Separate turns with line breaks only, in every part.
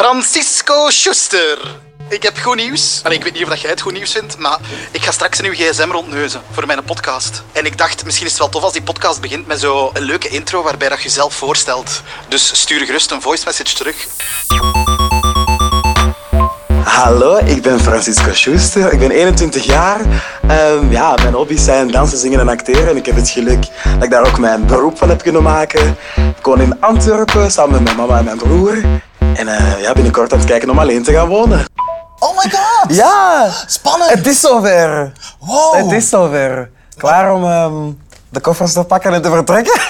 Francisco Schuster. Ik heb goed nieuws. En ik weet niet of dat jij het goed nieuws vindt, maar ik ga straks in uw gsm rondneuzen voor mijn podcast. En ik dacht, misschien is het wel tof als die podcast begint met zo'n leuke intro waarbij dat jezelf voorstelt. Dus stuur gerust een voice message terug.
Hallo, ik ben Francisco Schuster. Ik ben 21 jaar. Ehm, ja, mijn hobby's zijn dansen, zingen en acteren. En ik heb het geluk dat ik daar ook mijn beroep van heb kunnen maken. Ik woon in Antwerpen samen met mijn mama en mijn broer. En eh, ja, binnenkort aan het kijken om alleen te gaan wonen.
Oh my god!
Ja!
Spannend!
Het is zover!
Oh.
Wow!
Het is zover. Klaar om ehm, de koffers te pakken en te vertrekken?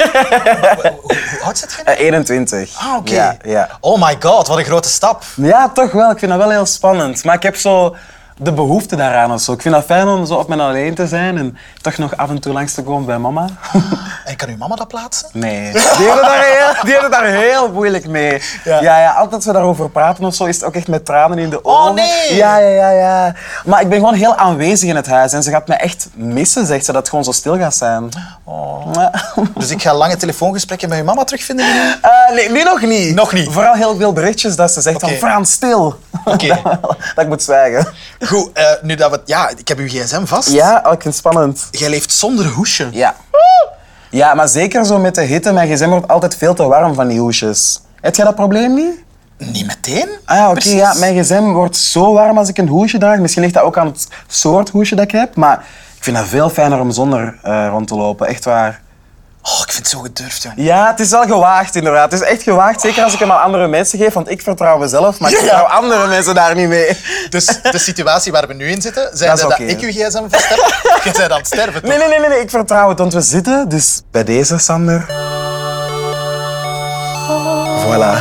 Hoe oud zit je?
Eh, 21.
Ah, oké.
Ja, ja.
Oh my god, wat een grote stap.
ja, toch wel. Ik vind dat wel heel spannend. Maar ik heb zo de behoefte daaraan of zo. Ik vind dat fijn om zo op mijn alleen te zijn en toch nog af en toe langs te komen bij mama.
En kan uw mama dat plaatsen?
Nee. Die hebben daar heel, die hebben daar heel moeilijk mee.
Ja. Oh,
Ja. Ja, altijd als we daarover praten of zo, is het ook echt met tranen in de ogen.
nee!
Ja, ja, ja, ja. Maar ik ben gewoon heel aanwezig in het huis en ze gaat me echt missen, zegt ze, dat het gewoon zo stil gaat zijn. Ja.
Dus ik ga lange telefoongesprekken met uw mama terugvinden. nu?
Eh, nee, nu nog niet.
Nog niet.
Vooral heel veel berichtjes dat ze zegt
Oké.
van Frans, stil.
Oké.
dat ik moet zwijgen.
Goed, eh, nu dat we... Ja, ik heb uw gsm vast.
Ja, oh, ik vind het spannend.
Jij leeft zonder hoesje.
Ja. Ja, maar zeker zo met de hitte. Mijn gsm wordt altijd veel te warm van die hoesjes. Heb jij dat probleem niet?
Niet meteen?
Ah ja, oké.
Precies.
ja, mijn gsm wordt zo warm als ik een hoesje draag. Misschien ligt dat ook aan het soort hoesje dat ik heb. Maar ik vind dat veel fijner om zonder eh, rond te lopen. Echt waar.
Oh, ik vind het zo gedurfd, jong.
Ja, het is wel gewaagd inderdaad. Het is echt gewaagd. Zeker als ik hem aan andere mensen geef. Want ik vertrouw mezelf, maar ik
Ja, ja.
vertrouw andere mensen daar niet mee.
Dus de situatie waar we nu in zitten, zei dat,
Dat is
dat,
oké.
ik uw gsm vast heb? Jij bent aan het sterven, toch?
Nee, nee, nee, nee, nee, ik vertrouw het, want we zitten. Dus bij deze, Sander. Voilà.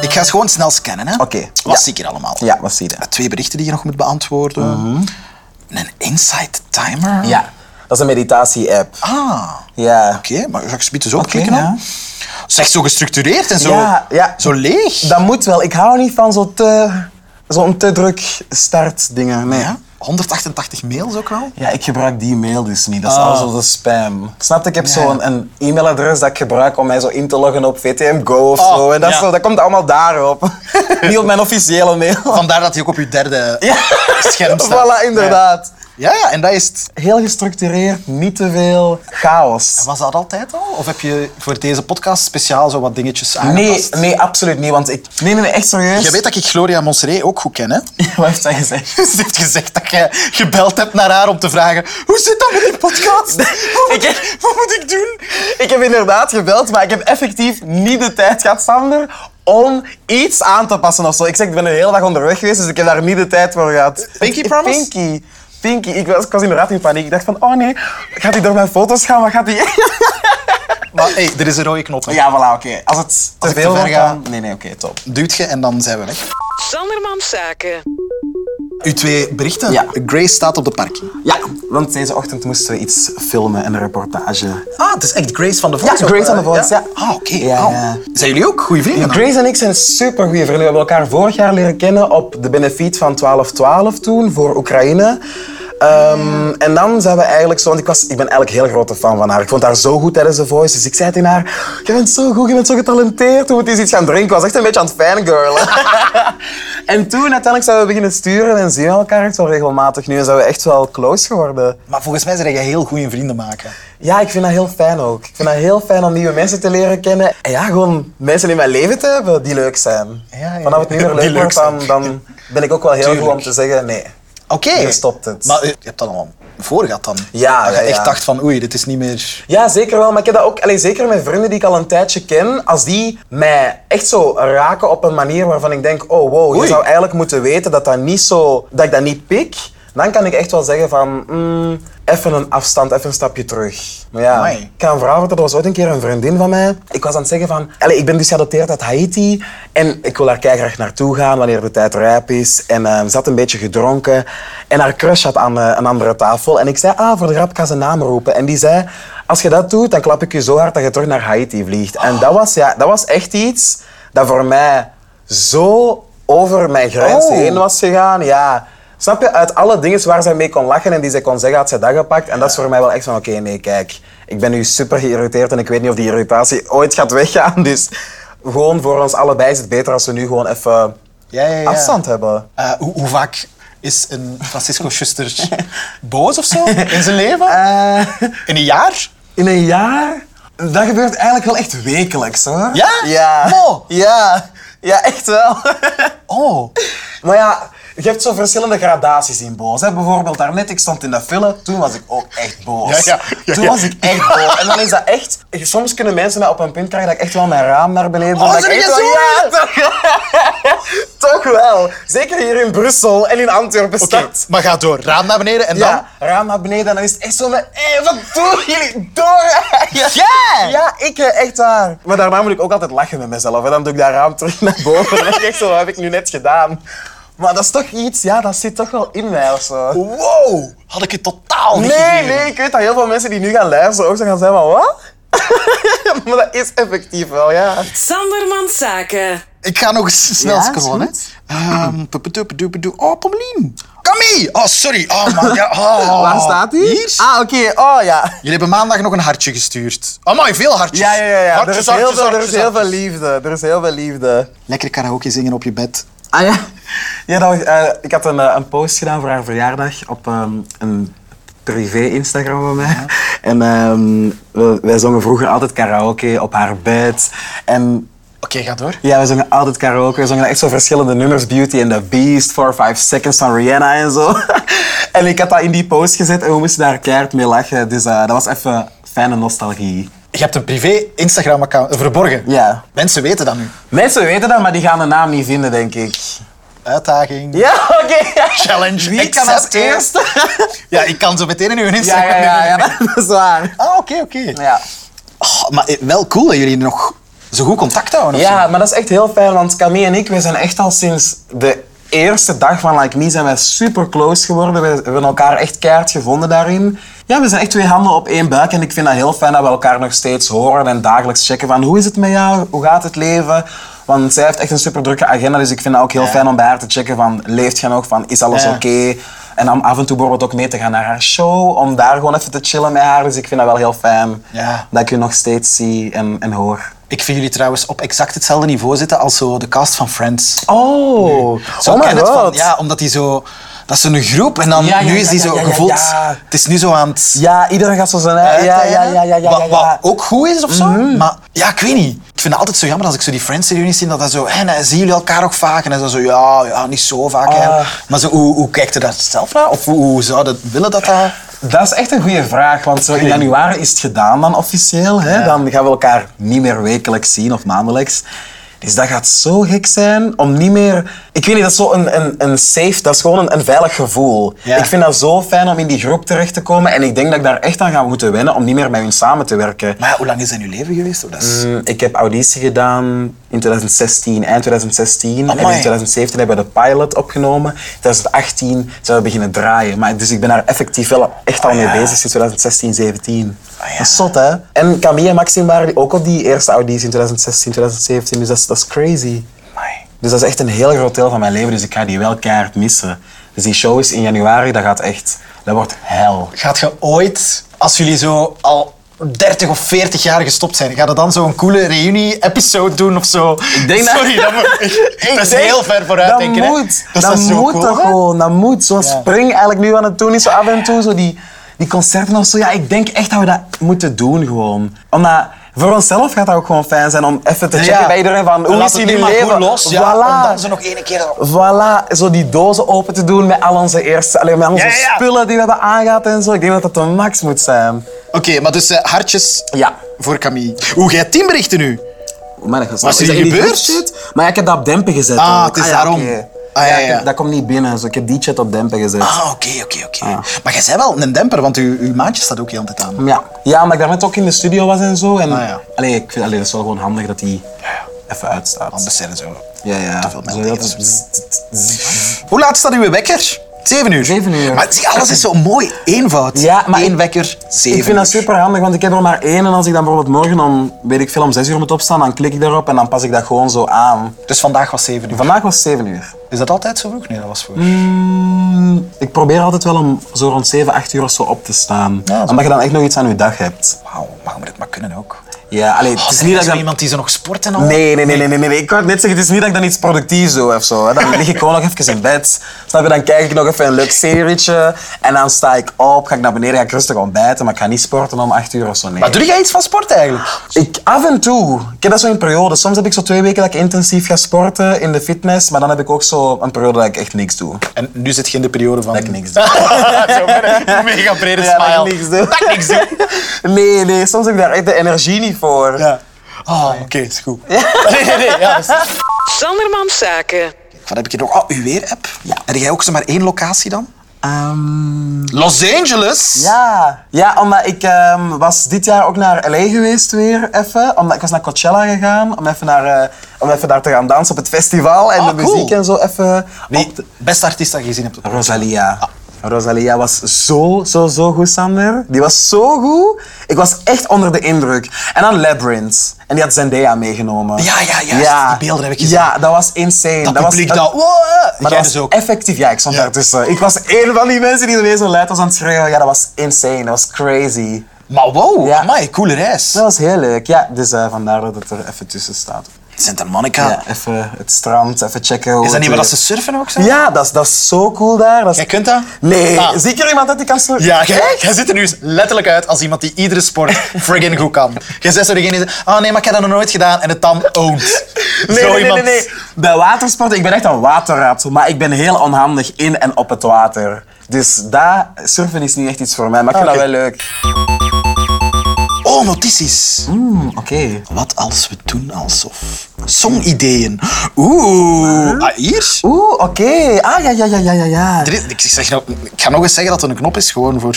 Ik ga ze gewoon snel scannen, hè.
Oké,
Wat
ja.
zie ik hier allemaal?
Ja, wat zie je?
Twee berichten die je nog moet beantwoorden. Een inside timer.
Ja, dat is een meditatie-app.
Ah.
Ja.
Oké, maar ga ik dus ze zo opklikken
klikken
dan?
dan?
Zeg, zo gestructureerd en zo,
Ja, ja.
zo leeg.
Dat moet wel. Ik hou niet van zo'n te, zo'n te druk startdingen. Nee.
Ja, 188 mails ook wel.
Ja, ik gebruik die mail dus niet. Dat is
Ah.
al zo de spam. Snap je? Ik heb
Ja.
zo'n een e-mailadres dat ik gebruik om mij zo in te loggen op VTM Go of
Oh,
zo. En dat, is
ja.
zo, dat komt allemaal daarop. niet op mijn officiële mail.
Vandaar dat hij ook op je derde scherm staat.
Voilà, inderdaad.
Ja, ja, en dat is het.
Heel gestructureerd, niet te veel chaos.
Was dat altijd al? Of heb je voor deze podcast speciaal zo wat dingetjes
Nee,
aangepast?
nee, absoluut niet. Want ik... Nee, nee, nee, echt serieus.
Je weet dat ik Gloria Monseré ook goed ken, hè?
Wat heeft zij gezegd?
Ze heeft gezegd dat jij gebeld hebt naar haar om te vragen hoe zit dat met die podcast? Wat moet ik, wat moet ik doen?
Ik heb inderdaad gebeld, maar ik heb effectief niet de tijd gehad, Sander, om iets aan te passen of zo. Ik zeg, ik ben een hele dag onderweg geweest, dus ik heb daar niet de tijd voor gehad.
Pinky
Ik-
promise?
Pinky. Pinky. Ik was, ik was inderdaad in paniek. Ik dacht van, oh nee, gaat hij door mijn foto's gaan? Wat gaat hij...
Maar hey, er is een rode knop. hè.
Ja, voilà, oké. Als het te
ik te
veel
ver
wordt,
ga-
dan... Nee, nee, oké, top.
Duwt je en dan zijn we weg.
Sandermans Zaken.
Uw twee berichten.
Ja.
Grace staat op de parking.
Ja, want deze ochtend moesten we iets filmen, een reportage.
Ah, het is echt Grace van de
Voice, ook, eh, ja.
Ah, oké.
Ja,
Oh.
ja.
Zijn jullie ook goede vrienden? dan?
Grace en ik zijn super goede vrienden. We hebben elkaar vorig jaar leren kennen op de benefiet van 1212 toen voor Oekraïne. Ehm, en dan zijn we eigenlijk zo, want ik, was, ik ben eigenlijk heel grote fan van haar. Ik vond haar zo goed tijdens de voice. Dus ik zei tegen haar: Je bent zo goed, je bent zo getalenteerd. We moeten eens iets gaan drinken. Ik was echt een beetje aan het fangirlen. en toen uiteindelijk zijn we beginnen sturen en zien we elkaar echt wel regelmatig nu. En zijn we echt wel close geworden.
Maar volgens mij zijn jij heel goede vrienden maken.
Ja, ik vind dat heel fijn ook. Ik vind dat heel fijn om nieuwe mensen te leren kennen. En ja, gewoon mensen in mijn leven te hebben die leuk zijn.
Ja, ja.
Vanaf het nu weer
Die
leuk
leuk
wordt, dan, dan ben ik ook wel heel goed om
Tuurlijk.
te zeggen nee.
Oké.
Je stopt het.
Maar eh, je hebt dat al voor gehad dan.
Ja,
Dat je
ja, ja.
echt dacht van oei, dit is niet meer...
Ja, zeker wel. Maar ik heb dat ook, allee, zeker met vrienden die ik al een tijdje ken, als die mij echt zo raken op een manier waarvan ik denk, oh wow,
Oei.
je zou eigenlijk moeten weten dat, dat, niet zo, dat ik dat niet pik, dan kan ik echt wel zeggen van, mm, even een afstand, even een stapje terug. Maar ja,
Amai.
ik kan een verhaal vertellen, er was ooit een keer een vriendin van mij. Ik was aan het zeggen van, allee, ik ben dus geadopteerd uit Haiti en ik wil daar keihard naartoe gaan wanneer de tijd rijp is. En eh, ze zat een beetje gedronken en haar crush had aan eh, een andere tafel. En ik zei, ah, voor de grap, ik ga zijn naam roepen. En die zei, als je dat doet, dan klap ik je zo hard dat je terug naar Haiti vliegt. En dat was, ja, dat was echt iets dat voor mij zo over mijn grens
Oh.
heen was gegaan. Ja. Snap je? Uit alle dingen waar zij mee kon lachen en die zij kon zeggen, had zij dat gepakt. En dat is voor mij wel echt van, oké, nee, kijk. Ik ben nu super geïrriteerd en ik weet niet of die irritatie ooit gaat weggaan. Dus gewoon voor ons allebei is het beter als we nu gewoon even
Ja, ja, ja.
afstand hebben.
Eh, hoe, hoe vaak is een Francisco Schuster boos of zo in zijn leven?
Eh,
in een jaar?
In een jaar? Dat gebeurt eigenlijk wel echt wekelijks, hoor.
Ja?
Ja.
Mo?
Ja. Ja, echt wel.
Oh.
maar ja, je hebt zo verschillende gradaties in boos. Hè. Bijvoorbeeld daarnet, ik stond in de file, toen was ik ook echt boos.
Ja, ja. Ja,
toen
ja.
was ik echt boos. En dan is dat echt... Soms kunnen mensen mij op een punt krijgen dat ik echt wel mijn raam naar beneden doe.
Oh,
Dat
zeg
ik echt
je
wel-
zo?
Ja, toch- toch wel. Zeker hier in Brussel en in Antwerpen
Oké,
stad.
maar ga door. Raam naar beneden en dan?
Ja, raam naar beneden en dan is het echt zo met... Hé, wat doen jullie? Door!
Ja!
Ja, ik, eh, echt waar. Maar daarna moet ik ook altijd lachen met mezelf. En dan doe ik dat raam terug naar boven. En dan denk ik zo, wat heb ik nu net gedaan? Maar dat is toch iets, ja, dat zit toch wel in mij of zo.
Wow, had ik het totaal niet
Nee,
gegeven.
nee, ik weet dat heel veel mensen die nu gaan luisteren ook zo gaan zeggen van, wat? maar dat is effectief wel, ja.
Sandermans Zaken.
Ik ga nog eens snel
Ja,
scrollen.
is
hè. Ehm, puputuputuputu. Oh, Pommelien. Camille. Oh, sorry. Oh, man. Ja, oh.
Waar staat die?
Hier.
Ah, oké. Oh, ja.
Jullie hebben maandag nog een hartje gestuurd. Amai, veel hartjes.
Ja, ja, ja. ja. Er,
Hartjes,
is heel
hartjes,
veel, er is
hartjes,
heel veel
hartjes.
liefde. Er is heel veel liefde.
Lekker karaoke zingen op je bed.
Ah ja. ja dat was, eh, ik had een, eh, een post gedaan voor haar verjaardag op ehm, een privé Instagram van mij. En ehm, we- wij zongen vroeger altijd karaoke op haar bed. En
Oké, ga door.
ja, we zongen altijd karaoke. We zongen echt zo verschillende nummers. Beauty and the Beast, 4 5 Seconds van Rihanna en zo. en ik had dat in die post gezet en we moesten daar keihard mee lachen. Dus eh, dat was even fijne nostalgie.
Je hebt een privé Instagram-account eh, verborgen.
Ja.
Mensen weten dat nu.
Mensen weten dat, maar die gaan de naam niet vinden, denk ik.
Uitdaging.
Ja, oké.
Challenge.
Wie kan als
accepted.
eerste?
Ja, ik kan zo meteen in hun
Ja,
Instagram.
ja, ja, ja, dat is waar.
Ah, oké, oké.
Ja.
Oh, maar eh, wel cool dat jullie nog zo goed contact houden. of
ja, maar dat is echt heel fijn, want Camille en ik, we zijn echt al sinds de eerste dag van Like Me zijn wij super close geworden. We hebben elkaar echt keihard gevonden daarin. Ja, we zijn echt twee handen op één buik en ik vind dat heel fijn dat we elkaar nog steeds horen en dagelijks checken van hoe is het met jou, hoe gaat het leven? Want zij heeft echt een super drukke agenda, dus ik vind dat ook heel fijn om bij haar te checken van leeft je nog, van is alles
Ja.
oké? En dan af en toe bijvoorbeeld ook mee te gaan naar haar show, om daar gewoon even te chillen met haar. Dus ik vind dat wel heel fijn
Ja.
dat ik je nog steeds zie en, en hoor.
Ik vind jullie trouwens op exact hetzelfde niveau zitten als zo de cast van Friends.
Oh,
Zo ken het Van, ja, omdat die zo... Dat is een groep en dan
Ja, ja,
nu is
ja,
die
ja,
zo
ja, ja,
gevoeld...
ja.
Het is nu zo aan het...
Ja, iedereen gaat zo zijn. hè. Ja, ja, ja, ja, ja,
Wat,
ja,
wat
ja. Mhm.
ook goed is of zo. Maar ja, ik weet niet. Ik vind het altijd zo jammer als ik zo die Friends-reunies zie, dat dat zo... Hé, nou, zien jullie elkaar ook vaak? En dan zo, ja, ja, niet zo vaak. hè.
Ah.
Maar zo, hoe, hoe kijkt u daar zelf naar? Of hoe, hoe zou dat willen dat dat...
Dat is echt een goede vraag, want zo in januari is het gedaan dan officieel. Hè? Dan gaan we elkaar niet meer wekelijks zien of maandelijks. Dus dat gaat zo gek zijn om niet meer... Ik weet niet, dat is zo een, een, een safe, dat is gewoon een, een veilig gevoel.
Ja.
Ik vind dat zo fijn om in die groep terecht te komen en ik denk dat ik daar echt aan ga moeten wennen om niet meer met hun samen te werken.
Maar ja, hoe lang is dat in uw leven geweest? Oh, dat is...
Mm, Ik heb auditie gedaan in 2016, eind 2016. En
Amai.
in 2017 hebben we de pilot opgenomen. In 2018 zijn we beginnen draaien. Maar, dus ik ben daar effectief wel echt al mee
Ah, ja.
bezig sinds 2016, 17.
Ah, ja.
Dat is zot, hè? En Camille en Maxime waren ook op die eerste auditie in 2016, 2017. Dus dat is, dat is crazy.
Amai.
Dus dat is echt een heel groot deel van mijn leven. Dus ik ga die wel keihard missen. Dus die show is in januari, dat gaat echt... Dat wordt hel.
Gaat je ooit, als jullie zo al 30 of 40 jaar gestopt zijn, gaat dat dan zo'n coole reunie-episode doen of zo? Ik
denk dat-
Sorry, dat, moet-
Ik
dat is
denk,
heel ver vooruit
dat
denken. hè.
Moet,
is
dat,
zo
moet
cool,
toch
hè?
gewoon, dat moet. Zoals
Ja.
Spring eigenlijk nu aan het doen is, zo af en toe, zo die, die concerten of zo. Ja, ik denk echt dat we dat moeten doen gewoon. Omdat voor onszelf gaat dat ook gewoon fijn zijn om even te
Ja,
checken bij iedereen van hoe
laat
is
het
hier
nu
nu
maar goed
leven.
los, ja, om dan
voilà.
zo nog één keer...
Voilà, zo die dozen open te doen met al onze eerste, allee, met al onze
Ja, ja, ja.
spullen die we hebben aangaat en zo. Ik denk dat dat de max moet zijn.
Oké, maar dus eh, hartjes
Ja.
voor Camille. Hoe jij tien berichten nu?
Maar dat
Wat is er
in die
gebeurd?
groepschat? Maar ja, ik heb dat op dempen gezet.
Ah,
ook.
het is
ja,
daarom.
oké.
Ah, ja,
ik heb-
ja.
dat komt niet binnen, dus ik heb die chat op dempen gezet.
Ah, oké, oké, oké. Maar jij bent wel een demper, want uw, uw maatje staat ook heel de tijd aan.
Ehm, Ja. ja, omdat ik daarnet ook in de studio was en zo. En,
Ah, ja.
allee, ik vind allee, dat is wel gewoon handig dat die even uitstaat.
Anders zijn er zo
ja, ja. Dus
te veel
Zo
mensen.
heel te- bzz, bzz, bzz.
Hoe laat staat uw wekker? Zeven uur.
Zeven uur.
Maar zie, alles is zo mooi. Eenvoud.
Ja, maar
Eén
ik-
wekker, zeven
Ik vind dat
uur.
super handig, want ik heb er maar één. En als ik dan bijvoorbeeld morgen om, weet ik veel, om zes uur moet opstaan, dan klik ik daarop en dan pas ik dat gewoon zo aan.
Dus vandaag was zeven uur.
Vandaag was zeven uur.
Is dat altijd zo vroeg? Nee, dat was voor.
Mm, ik probeer altijd wel om zo rond zeven, acht uur of zo op te staan.
Ja, dat is
omdat je dan echt nog iets aan je dag hebt.
Wauw, maar je moet het maar kunnen ook.
Ja, allee, het is niet dat ik
zo
dan-
iemand die zo nog sport en al.
Nee, nee, nee, nee, nee, nee, nee. Ik wou net zeggen, het is niet dat ik dan iets productiefs doe of zo. Hè. Dan lig ik gewoon nog even in bed. Snap je? Dan kijk ik nog even een leuk serietje. En dan sta ik op, ga ik naar beneden, ga ik rustig ontbijten. Maar ik ga niet sporten om acht uur of zo. Nee.
Maar doe jij iets van sport eigenlijk?
Ik af en toe. Ik heb dat zo in periodes. Soms heb ik zo twee weken dat ik intensief ga sporten in de fitness. Maar dan heb ik ook zo een periode dat ik echt niks doe.
En nu zit je in de periode van...
Dat ik niks doe.
Zo, met een mega brede
Ja,
smile.
dat ik niks doe. Nee, nee. Soms heb ik daar echt de energie niet voor.
Ja. Oh, oké, is goed. Nee, nee, nee. Ja, dat is-
Sandermans Zaken.
Wat heb ik hier nog? Oh, uw weer-app. Ja. Heb jij ook zomaar één locatie dan?
Ehm,
Los Angeles?
Ja, ja omdat ik ehm, was dit jaar ook naar LA geweest weer even. Omdat ik was naar Coachella gegaan om even, naar, eh, om even daar te gaan dansen op het festival en
Ah,
de
cool.
muziek en zo even.
Nee,
op de-
beste artiest dat je gezien hebt.
Rosalia. Rosalia was zo, zo, zo goed, Sander. Die was zo goed. Ik was echt onder de indruk. En dan Labyrinth. En die had Zendaya meegenomen.
Ja, ja, juist. Die beelden heb ik gezien.
Ja, dat was insane.
Dat,
was,
publiek dat... Wow.
maar
jij dus
dat was
ook.
effectief. Ja, ik stond
Ja.
daartussen. eh, Ik was één van die mensen die ineens zo luid was aan het schreeuwen. Ja, dat was insane. Dat was crazy.
Maar wow,
Ja.
amai, coole reis.
Dat was heel leuk. Ja, dus eh, vandaar dat het er even tussen staat.
Santa Monica.
Ja, even het strand, even checken. hoe
Is dat
het
niet waar dat
weer-
ze surfen ook zo?
Ja, dat is, dat is zo cool daar. Dat is-
Jij kunt dat?
Nee,
Ah.
zie ik er iemand uit die kan surfen?
Ja, jij, jij ziet er nu eens letterlijk uit als iemand die iedere sport friggin goed kan. Jij zegt zo degene die zegt, oh nee, maar ik heb dat nog nooit gedaan en het dan owned.
Nee,
zo
nee, nee,
iemand.
nee, nee. Bij watersporten, ik ben echt een waterrat, maar ik ben heel onhandig in en op het water. Dus dat, surfen is niet echt iets voor mij, maar ik vind
Ah, Oké.
dat wel leuk.
Oh, notities.
Hmm, Oké.
Wat als we doen alsof. Songideeën. Oeh. Ah, hier?
Oeh, oké. Ah, ja, ja, ja, ja, ja, ja.
Er is- ik, zeg, nou- ik ga nog eens zeggen dat er een knop is gewoon voor...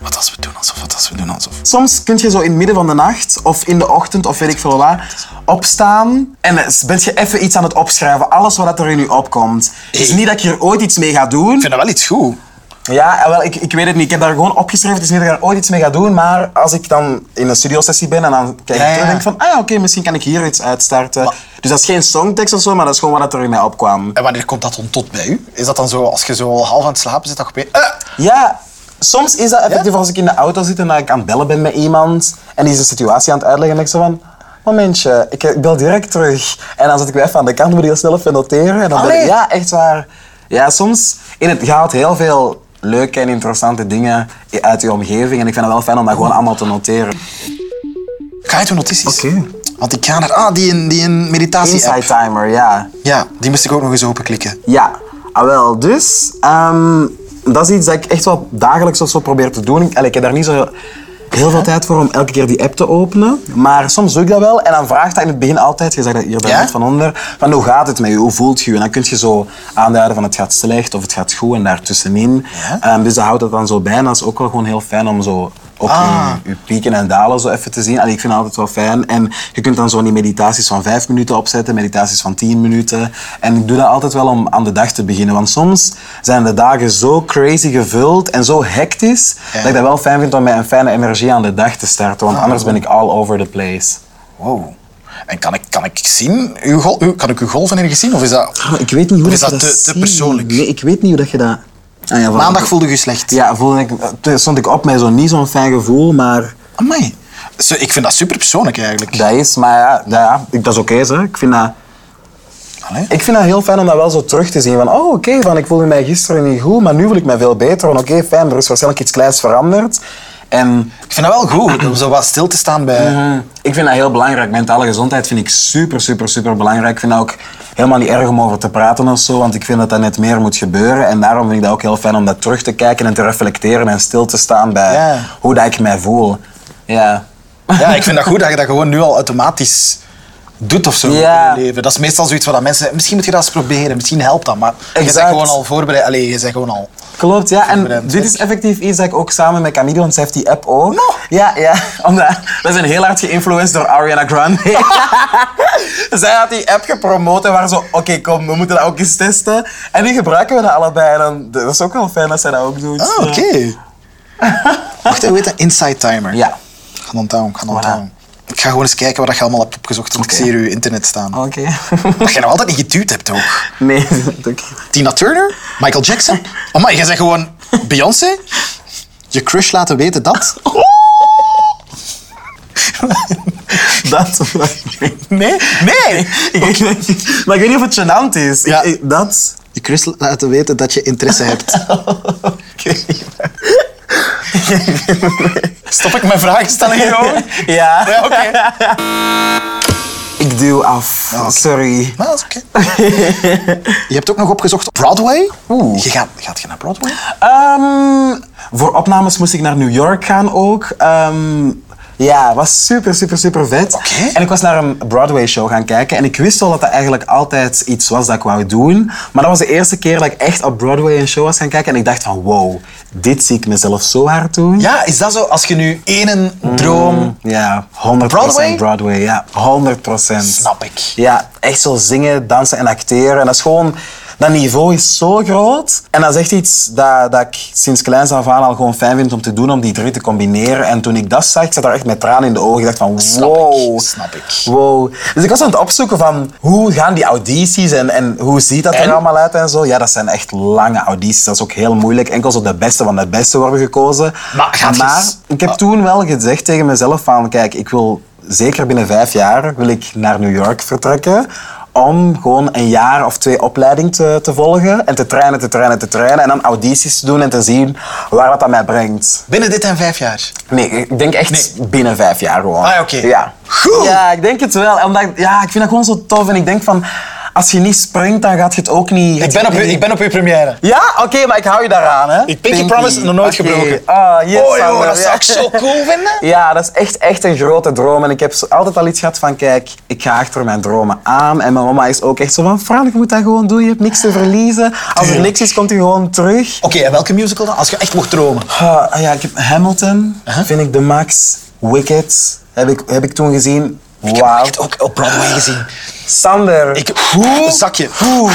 Wat als we doen alsof, wat als we doen alsof.
Soms kun je zo in het midden van de nacht of in de ochtend of weet ik veel waar opstaan en ben je even iets aan het opschrijven. Alles wat er in je opkomt. Het is
Hey.
niet dat ik hier ooit iets mee ga
Ik
doen.
vind dat wel iets goed.
Ja, eh, wel, ik, ik weet het niet. Ik heb daar gewoon opgeschreven. Het is niet dat ik daar ooit iets mee ga doen. Maar als ik dan in een studiosessie ben en dan kijk
Ja,
ik terug
ja.
en denk van, ah ja, oké, misschien kan ik hier iets uitstarten.
Maar-
Dus dat is geen songtekst of zo, maar dat is gewoon wat er in mij opkwam.
En wanneer komt dat dan tot bij u? Is dat dan zo, als je zo half aan het slapen zit, dat je opeens... Eh,
Ja, soms is dat effectief als ik in de auto zit en dat ik aan het bellen ben met iemand en die is de situatie aan het uitleggen en ik zo van... Momentje, ik eh, bel direct terug. En dan zet ik me even aan de kant, moet ik heel snel even noteren. En dan ben ik,
Allee.
ja, echt waar. Ja, soms in het gaat heel veel leuke en interessante dingen uit je omgeving. En ik vind het wel fijn om dat gewoon allemaal te noteren.
Ik ga uit mijn notities.
Oké.
Want ik ga naar... Ah, die een, die een meditatie
Insight
app.
timer, ja.
Ja, die moest ik ook nog eens openklikken.
Ja, ah, wel, dus ehm, dat is iets dat ik echt wel dagelijks of zo probeer te doen. Ik, allee, ik heb daar niet zo heel veel tijd voor om elke keer die app te openen. Maar soms doe ik dat wel en dan vraagt dat in het begin altijd, je zegt dat hier bij
Ja?
net van onder, van hoe gaat het met je, hoe voelt je je? En dan kun je zo aanduiden van het gaat slecht of het gaat goed en daartussenin.
Ja?
Ehm, dus dat houdt het dan zo bij en dat is ook wel gewoon heel fijn om zo ook
Ah.
je, je pieken en dalen zo even te zien. Allee, ik vind het altijd wel fijn. En je kunt dan zo die meditaties van vijf minuten opzetten, meditaties van tien minuten. En ik doe dat altijd wel om aan de dag te beginnen. Want soms zijn de dagen zo crazy gevuld en zo hectisch,
Ja.
dat ik dat wel fijn vind om met een fijne energie aan de dag te starten. Want anders ben ik all over the place.
Wow. En kan ik, kan ik zien, uw gol, uw- kan ik uw golvenergie zien? Of is dat...
Ah, Ik weet niet hoe
Of is dat dat je dat te- te ziet. persoonlijk? Nee,
ik weet niet hoe dat je dat... Ah,
Maandag voelde je slecht.
Ja, voelde ik, toen stond ik op met zo, niet zo'n fijn gevoel, maar...
Amai. Zo, ik vind dat super persoonlijk eigenlijk.
Dat is, maar ja, dat, ja, ik- dat is oké, zeg. ik vind dat...
Allee.
Ik vind dat heel fijn om dat wel zo terug te zien. Van, oh, oké, van ik voelde mij gisteren niet goed, maar nu voel ik mij veel beter. Van, oké, fijn, er is waarschijnlijk iets kleins veranderd. En
Ik vind dat wel goed, om zo wat stil te staan bij...
Mm-hmm. Mm. ik vind dat heel belangrijk. Mentale gezondheid vind ik super, super, super belangrijk. Ik vind dat ook helemaal niet erg om over te praten of zo, want ik vind dat dat net meer moet gebeuren. En daarom vind ik dat ook heel fijn om dat terug te kijken en te reflecteren en stil te staan bij
Ja.
hoe dat ik mij voel. Ja.
Ja, ik vind dat goed dat je dat gewoon nu al automatisch doet of zo
Ja.
in je leven. Dat is meestal zoiets wat dat mensen zeggen, misschien moet je dat eens proberen, misschien helpt dat, maar je bent
Exact.
gewoon al voorbereid. Allee, je bent gewoon al...
Klopt, ja. En
Voorbereid
dit is
werk.
effectief iets dat ik ook samen met Camille, want zij heeft die app ook. Ja, ja. Omdat, we zijn heel hard geïnfluenced door Ariana Grande. zij had die app gepromoot en waren zo, oké, kom, we moeten dat ook eens testen. En nu gebruiken we dat allebei. En dan, dat is ook wel fijn dat zij dat ook doet.
Ah, oké. Wacht, hoe heet dat? Inside Timer.
Ja.
Ik ga downtown, ik ga downtown. Ik ga gewoon eens kijken wat je allemaal hebt opgezocht, want ik
Oké. Oh.
zie hier uw internet staan.
Oké.
Dat jij nog altijd niet geduwd hebt ook.
nee, dat ook.
Tina Turner? Michael Jackson? Oh maar jij zegt gewoon Beyoncé? Je crush laten weten dat?
Dat vraag ik me.
Nee? Nee!
Ik weet- Maar ik weet niet of het gênant is. Ik-
Ja.
Ik, dat.
Je kus laten weten dat je interesse hebt. Stop ik mijn vraagstellingen over?
Ja.
Ja, oké.
Ik duw af. Sorry.
Maar dat is oké. je hebt ook nog opgezocht Broadway. Oeh. Je gaat, gaat je naar Broadway?
Ehm, voor opnames moest ik naar New York gaan ook. Ehm, ja, was super, super, super vet.
Oké.
En ik was naar een Broadway-show gaan kijken. En ik wist al dat dat eigenlijk altijd iets was dat ik wou doen. Maar dat was de eerste keer dat ik echt op Broadway een show was gaan kijken. En ik dacht van, wow, dit zie ik mezelf zo hard doen.
Ja, is dat zo? Als je nu één droom...
Ja, 100%
Broadway?
Broadway? Broadway, ja. 100%.
Snap ik.
Ja, echt zo zingen, dansen en acteren. En dat is gewoon... Dat niveau is zo groot. En dat is echt iets dat, dat ik sinds kleins af aan al gewoon fijn vind om te doen, om die drie te combineren. En toen ik dat zag, ik zat daar echt met tranen in de ogen. Ik dacht van,
Snap
wow.
ik, snap ik.
Wow. Dus ik was aan het opzoeken van, hoe gaan die audities en, en hoe ziet dat
En?
er allemaal uit en zo. Ja, dat zijn echt lange audities. Dat is ook heel moeilijk. Enkel zo de beste van de beste worden gekozen.
Maar gaat je- Oh.
ik heb toen wel gezegd tegen mezelf van, kijk, ik wil zeker binnen vijf jaar wil ik naar New York vertrekken om gewoon een jaar of twee opleiding te, te volgen en te trainen, te trainen, te trainen en dan audities te doen en te zien waar dat aan mij brengt.
Binnen dit en vijf jaar.
Nee, ik denk echt binnen vijf jaar gewoon.
Ah, oké.
Ja.
Goed.
Ja, ik denk het wel. Omdat, ja, ik vind dat gewoon zo tof en ik denk van, als je niet springt, dan gaat je het ook niet...
Ik ben op, uw- ik ben op uw première.
Ja, oké, maar ik hou je daaraan, hè.
Ik pinky promise, nog nooit
Oké.
gebroken.
Ah, yes,
oh joh,
Sander,
dat zou
ja.
ik zo cool vinden.
Ja, dat is echt, echt een grote droom. En ik heb zo altijd al iets gehad van, kijk, ik ga achter mijn dromen aan. En mijn mama is ook echt zo van, Fran, je moet dat gewoon doen. Je hebt niks te verliezen. Als er
Ah. Tuurlijk.
niks is, komt je gewoon terug.
Oké, en welke musical dan? Als je echt mocht dromen.
Ah, ah ja, ik heb Hamilton,
Uh-huh.
vind ik de max. Wicked, heb ik, heb ik toen gezien.
Ik heb
Wauw.
echt ook op Broadway gezien.
Sander.
Ik hoe? Een zakje.
Hoe?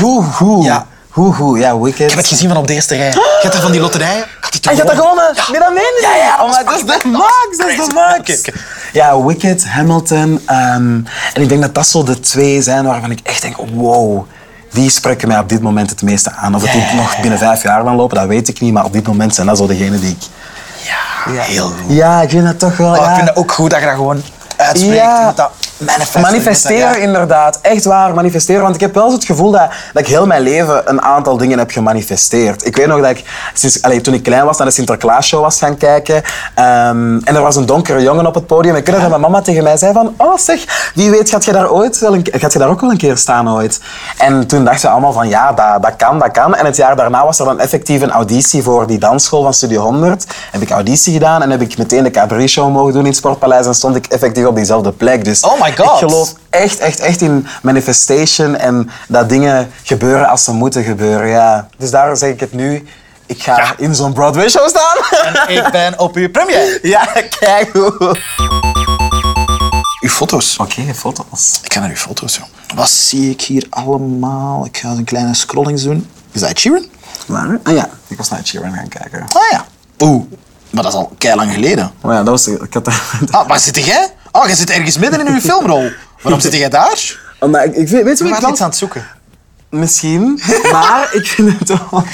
Hoe? Hoe?
Ja.
Hoe? Hoe? Ja, Wicked.
Ik heb het gezien van op de eerste rij. Je hebt dat van die loterijen. Ik had die toen
Ah, je hebt dat
gewonnen.
gewonnen? Nee, dat meen je
Ja, ja,
niet. Oh, maar
dat
dat
is
is de max, dat is
Crazy.
de max.
Oké, oké.
Ja, Wicked, Hamilton. ehm, en ik denk dat dat zo de twee zijn waarvan ik echt denk, wow. Die spreken mij op dit moment het meeste aan. Of het
Ja, ja, ja,
nog binnen vijf jaar kan lopen, dat weet ik niet. Maar op dit moment zijn dat zo degenen die ik...
Ja, heel goed.
Ja, ik vind dat toch wel...
Maar
ja.
Oh, ik vind dat ook goed dat je dat gewoon uitspreekt.
Ja.
Je moet dat manifesteren. Je
Manifesteren,
moet dat- ja.
inderdaad. Echt waar, manifesteren. Want ik heb wel eens het gevoel dat, dat ik heel mijn leven een aantal dingen heb gemanifesteerd. Ik weet nog dat ik sinds, allee, toen ik klein was naar de Sinterklaasshow was gaan kijken. ehm, en er was een donkere jongen op het podium. Ik weet nog dat mijn mama tegen mij zei van... Oh zeg, wie weet gaat je daar, ooit wel een, ke- gaat je daar ook wel een keer staan ooit? En toen dachten we allemaal van ja, dat, dat kan, dat kan. En het jaar daarna was er dan effectief een auditie voor die dansschool van Studio 100. Heb ik auditie gedaan en heb ik meteen de cabaret-show mogen doen in het Sportpaleis. En stond ik effectief op diezelfde plek. Dus
Oh my God.
ik geloof echt, echt, echt in manifestation en dat dingen gebeuren als ze moeten gebeuren. Ja. Dus daarom zeg ik het nu. Ik ga in zo'n Broadway-show staan.
Ik ben op uw première.
ja, kijk hoe.
Uw foto's.
Oké, foto's.
Ik ga naar uw foto's, joh. Wat zie ik hier allemaal? Ik ga eens een kleine scrolling doen. Is dat Ed Sheeran?
Maar, ah ja, ik was naar Sheeran gaan kijken.
Ah ja. Oeh, maar dat is al kei lang geleden.
Maar Oh ja, dat was... Ik had dat-
Ah, waar zit jij? Oh, jij zit ergens midden in uw filmrol. Waarom zit jij daar?
Oh, Maar ik, ik weet, weet je
We
wat ik
waren iets
wel-
aan het zoeken.
Misschien, maar ik vind het ook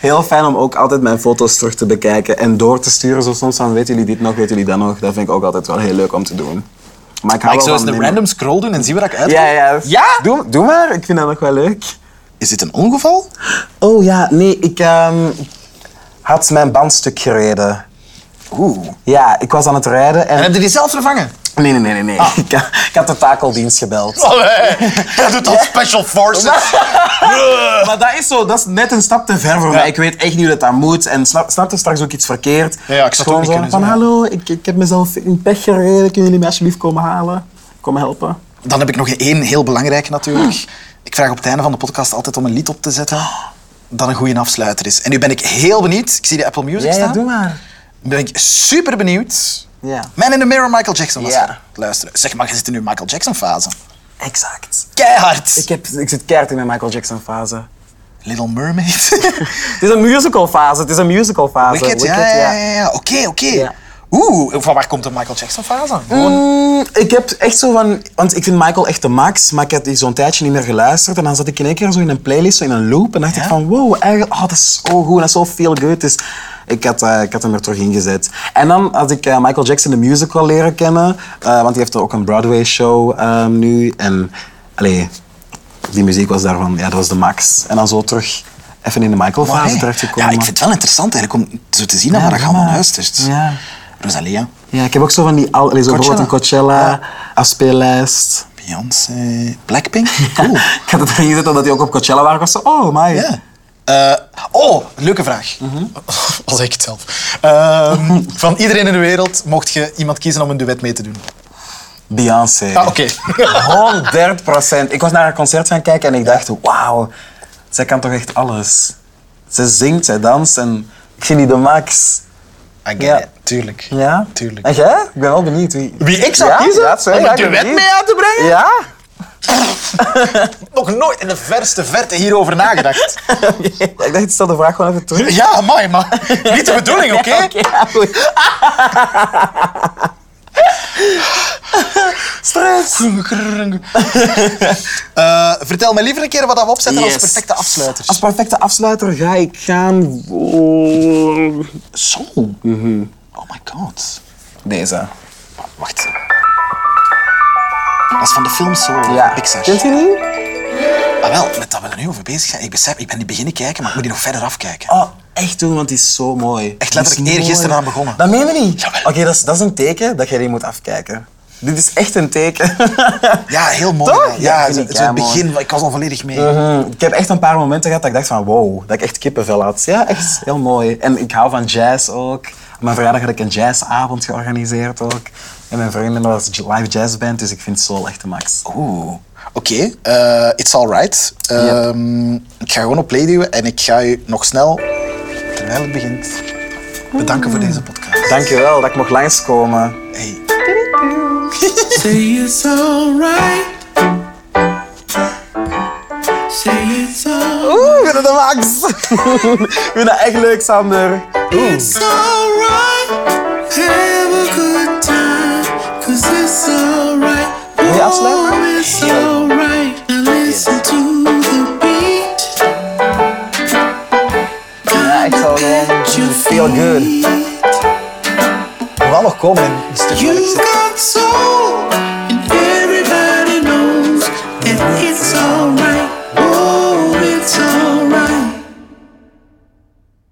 heel fijn om ook altijd mijn foto's terug te bekijken en door te sturen. Zo soms van, weten jullie dit nog, weten jullie dat nog? Dat vind ik ook altijd wel heel leuk om te doen. Maar ik
Mag
hou
ik zo eens
wel van
een
minder-
random scroll doen en zien wat ik uit?
Ja, ja.
Ja?
Doe, doe maar, ik vind dat nog wel leuk.
Is dit een ongeval?
Oh ja, nee, ik ehm, had mijn bandstuk gereden.
Oeh.
Ja, ik was aan het rijden en... Ah.
En heb je die zelf vervangen?
Nee, nee, nee, nee. nee. Ik, ha- ik had de takeldienst gebeld.
Allee, jij doet al special forces.
Maar dat is zo, dat is net een stap te ver voor mij. Ik weet echt niet hoe dat, dat moet. En snap, snap er straks ook iets verkeerd?
Ja, ja, ik zou het ook
Gewoon
niet
zo
kunnen
van,
zeggen.
hallo, ik, ik heb mezelf in pech gereden. Kunnen jullie mij alsjeblieft komen halen? Kom helpen.
Dan heb ik nog één heel belangrijke natuurlijk. Ik vraag op het einde van de podcast altijd om een lied op te zetten dat een goede afsluiter is. En nu ben ik heel benieuwd. Ik zie de Apple Music
Ja, ja,
staan.
doe maar.
ben ik super benieuwd.
Ja.
Man in the Mirror, Michael Jackson was
Ja.
er. Luisteren. Zeg maar, je zit in uw Michael Jackson fase.
Exact.
Keihard.
Ik, heb, ik zit keihard in mijn Michael Jackson fase.
Little Mermaid.
Het is een musical fase. Het is een musical fase.
Wicked, ja,
Wicked,
ja, ja, ja. Oké, oké.
Ja.
Oeh, van waar komt de Michael Jackson fase? Gewoon
Mm, ik heb echt zo van... Want ik vind Michael echt de max, maar ik had die zo'n tijdje niet meer geluisterd. En dan zat ik in één keer zo in een playlist, zo in een loop. En dacht
Ja?
ah, ik van, wow, eigenlijk... Oh, dat is zo goed, dat is zo feel good. Dus Ik had, eh, ik had hem er terug ingezet. En dan had ik eh, Michael Jackson de musical leren kennen, eh, want die heeft ook een Broadway-show eh, nu. En allee, die muziek was daarvan, ja, dat was de max. En dan zo terug even in de
Maar,
Michael-fase
hey,
terechtgekomen.
Ja, ik vind het wel interessant eigenlijk om zo te zien naar
Ja,
waar je
ja,
allemaal
maar-
luistert.
ja.
Rosalia,
Ja, ik heb ook zo van die, al, allee, zo bijvoorbeeld een Coachella afspeellijst.
Beyoncé, Blackpink. Cool.
ik had het erin gezet omdat die ook op Coachella waren. Ik was zo, oh my.
Ja. Eh, oh, leuke vraag. Als ik het zelf. Ehm, van iedereen in de wereld mocht je iemand kiezen om een duet mee te doen.
Beyoncé.
Ah, oké.
100 procent. Ik was naar haar concert gaan kijken en ik dacht, wauw, zij kan toch echt alles. Ze zingt, zij danst en ik vind die de max.
I get
Ja.
it. Tuurlijk.
Ja?
Tuurlijk.
En jij? Ik ben wel benieuwd wie...
Wie ik zou
Ja?
kiezen?
Ja, sorry,
Om een
ja, ik ben
duet
benieuwd.
mee uit te brengen?
Ja?
Nog nooit in de verste verte hierover nagedacht.
Ja, Ik dacht, ik stel de vraag gewoon even terug.
ja, mooi man. Niet de bedoeling, oké?
Oké, ja, goed.
Stress. Eh, vertel me liever een keer wat dat we opzetten als
Yes.
perfecte afsluiters.
Als perfecte afsluiter ga ik gaan voor...
Zo.
Mhm.
Oh my god.
Deze.
Wacht. Dat is van de film Soul.
Ja.
Pixar.
Kent je die?
Ah, wel, met dat we er nu over bezig zijn. Ik besef, ik ben niet beginnen kijken, maar ik moet die nog verder afkijken.
Oh, echt doen, want die is zo mooi.
Echt letterlijk
Die is
eergisteren
mooi.
aan begonnen.
Dat meen je niet?
Jawel.
Oké, dat, is, dat is een teken dat jij die moet afkijken. Dit is echt een teken.
Ja, heel mooi.
Toch?
wel. Ja,
vind
het,
ik
het, het
keimooi.
begin, ik was al volledig mee.
Mhm. Ik heb echt een paar momenten gehad dat ik dacht van wow, dat ik echt kippenvel had. Ja, echt heel mooi. En ik hou van jazz ook. Op mijn verjaardag had ik een jazzavond georganiseerd ook. En mijn vrienden was j- live jazzband, dus ik vind soul echt de max.
Oeh. Oké, eh, it's alright. Ehm, Ik ga gewoon op play duwen en ik ga u nog snel, terwijl het begint, bedanken voor deze podcast.
Dankjewel dat ik mocht langskomen.
Hey.
Say it's alright. Say it's alright.
Oeh, ik vind het de max. ik vind dat echt leuk, Sander.
It's alright. Have a good time. Cause it's alright.
Wil je afsluiten?
Oh, it's alright. Now listen to the beat.
Ja, echt zo gewoon
Get your
feel good.
feet.
Wel nog komen in een stuk.
You got soul Oh,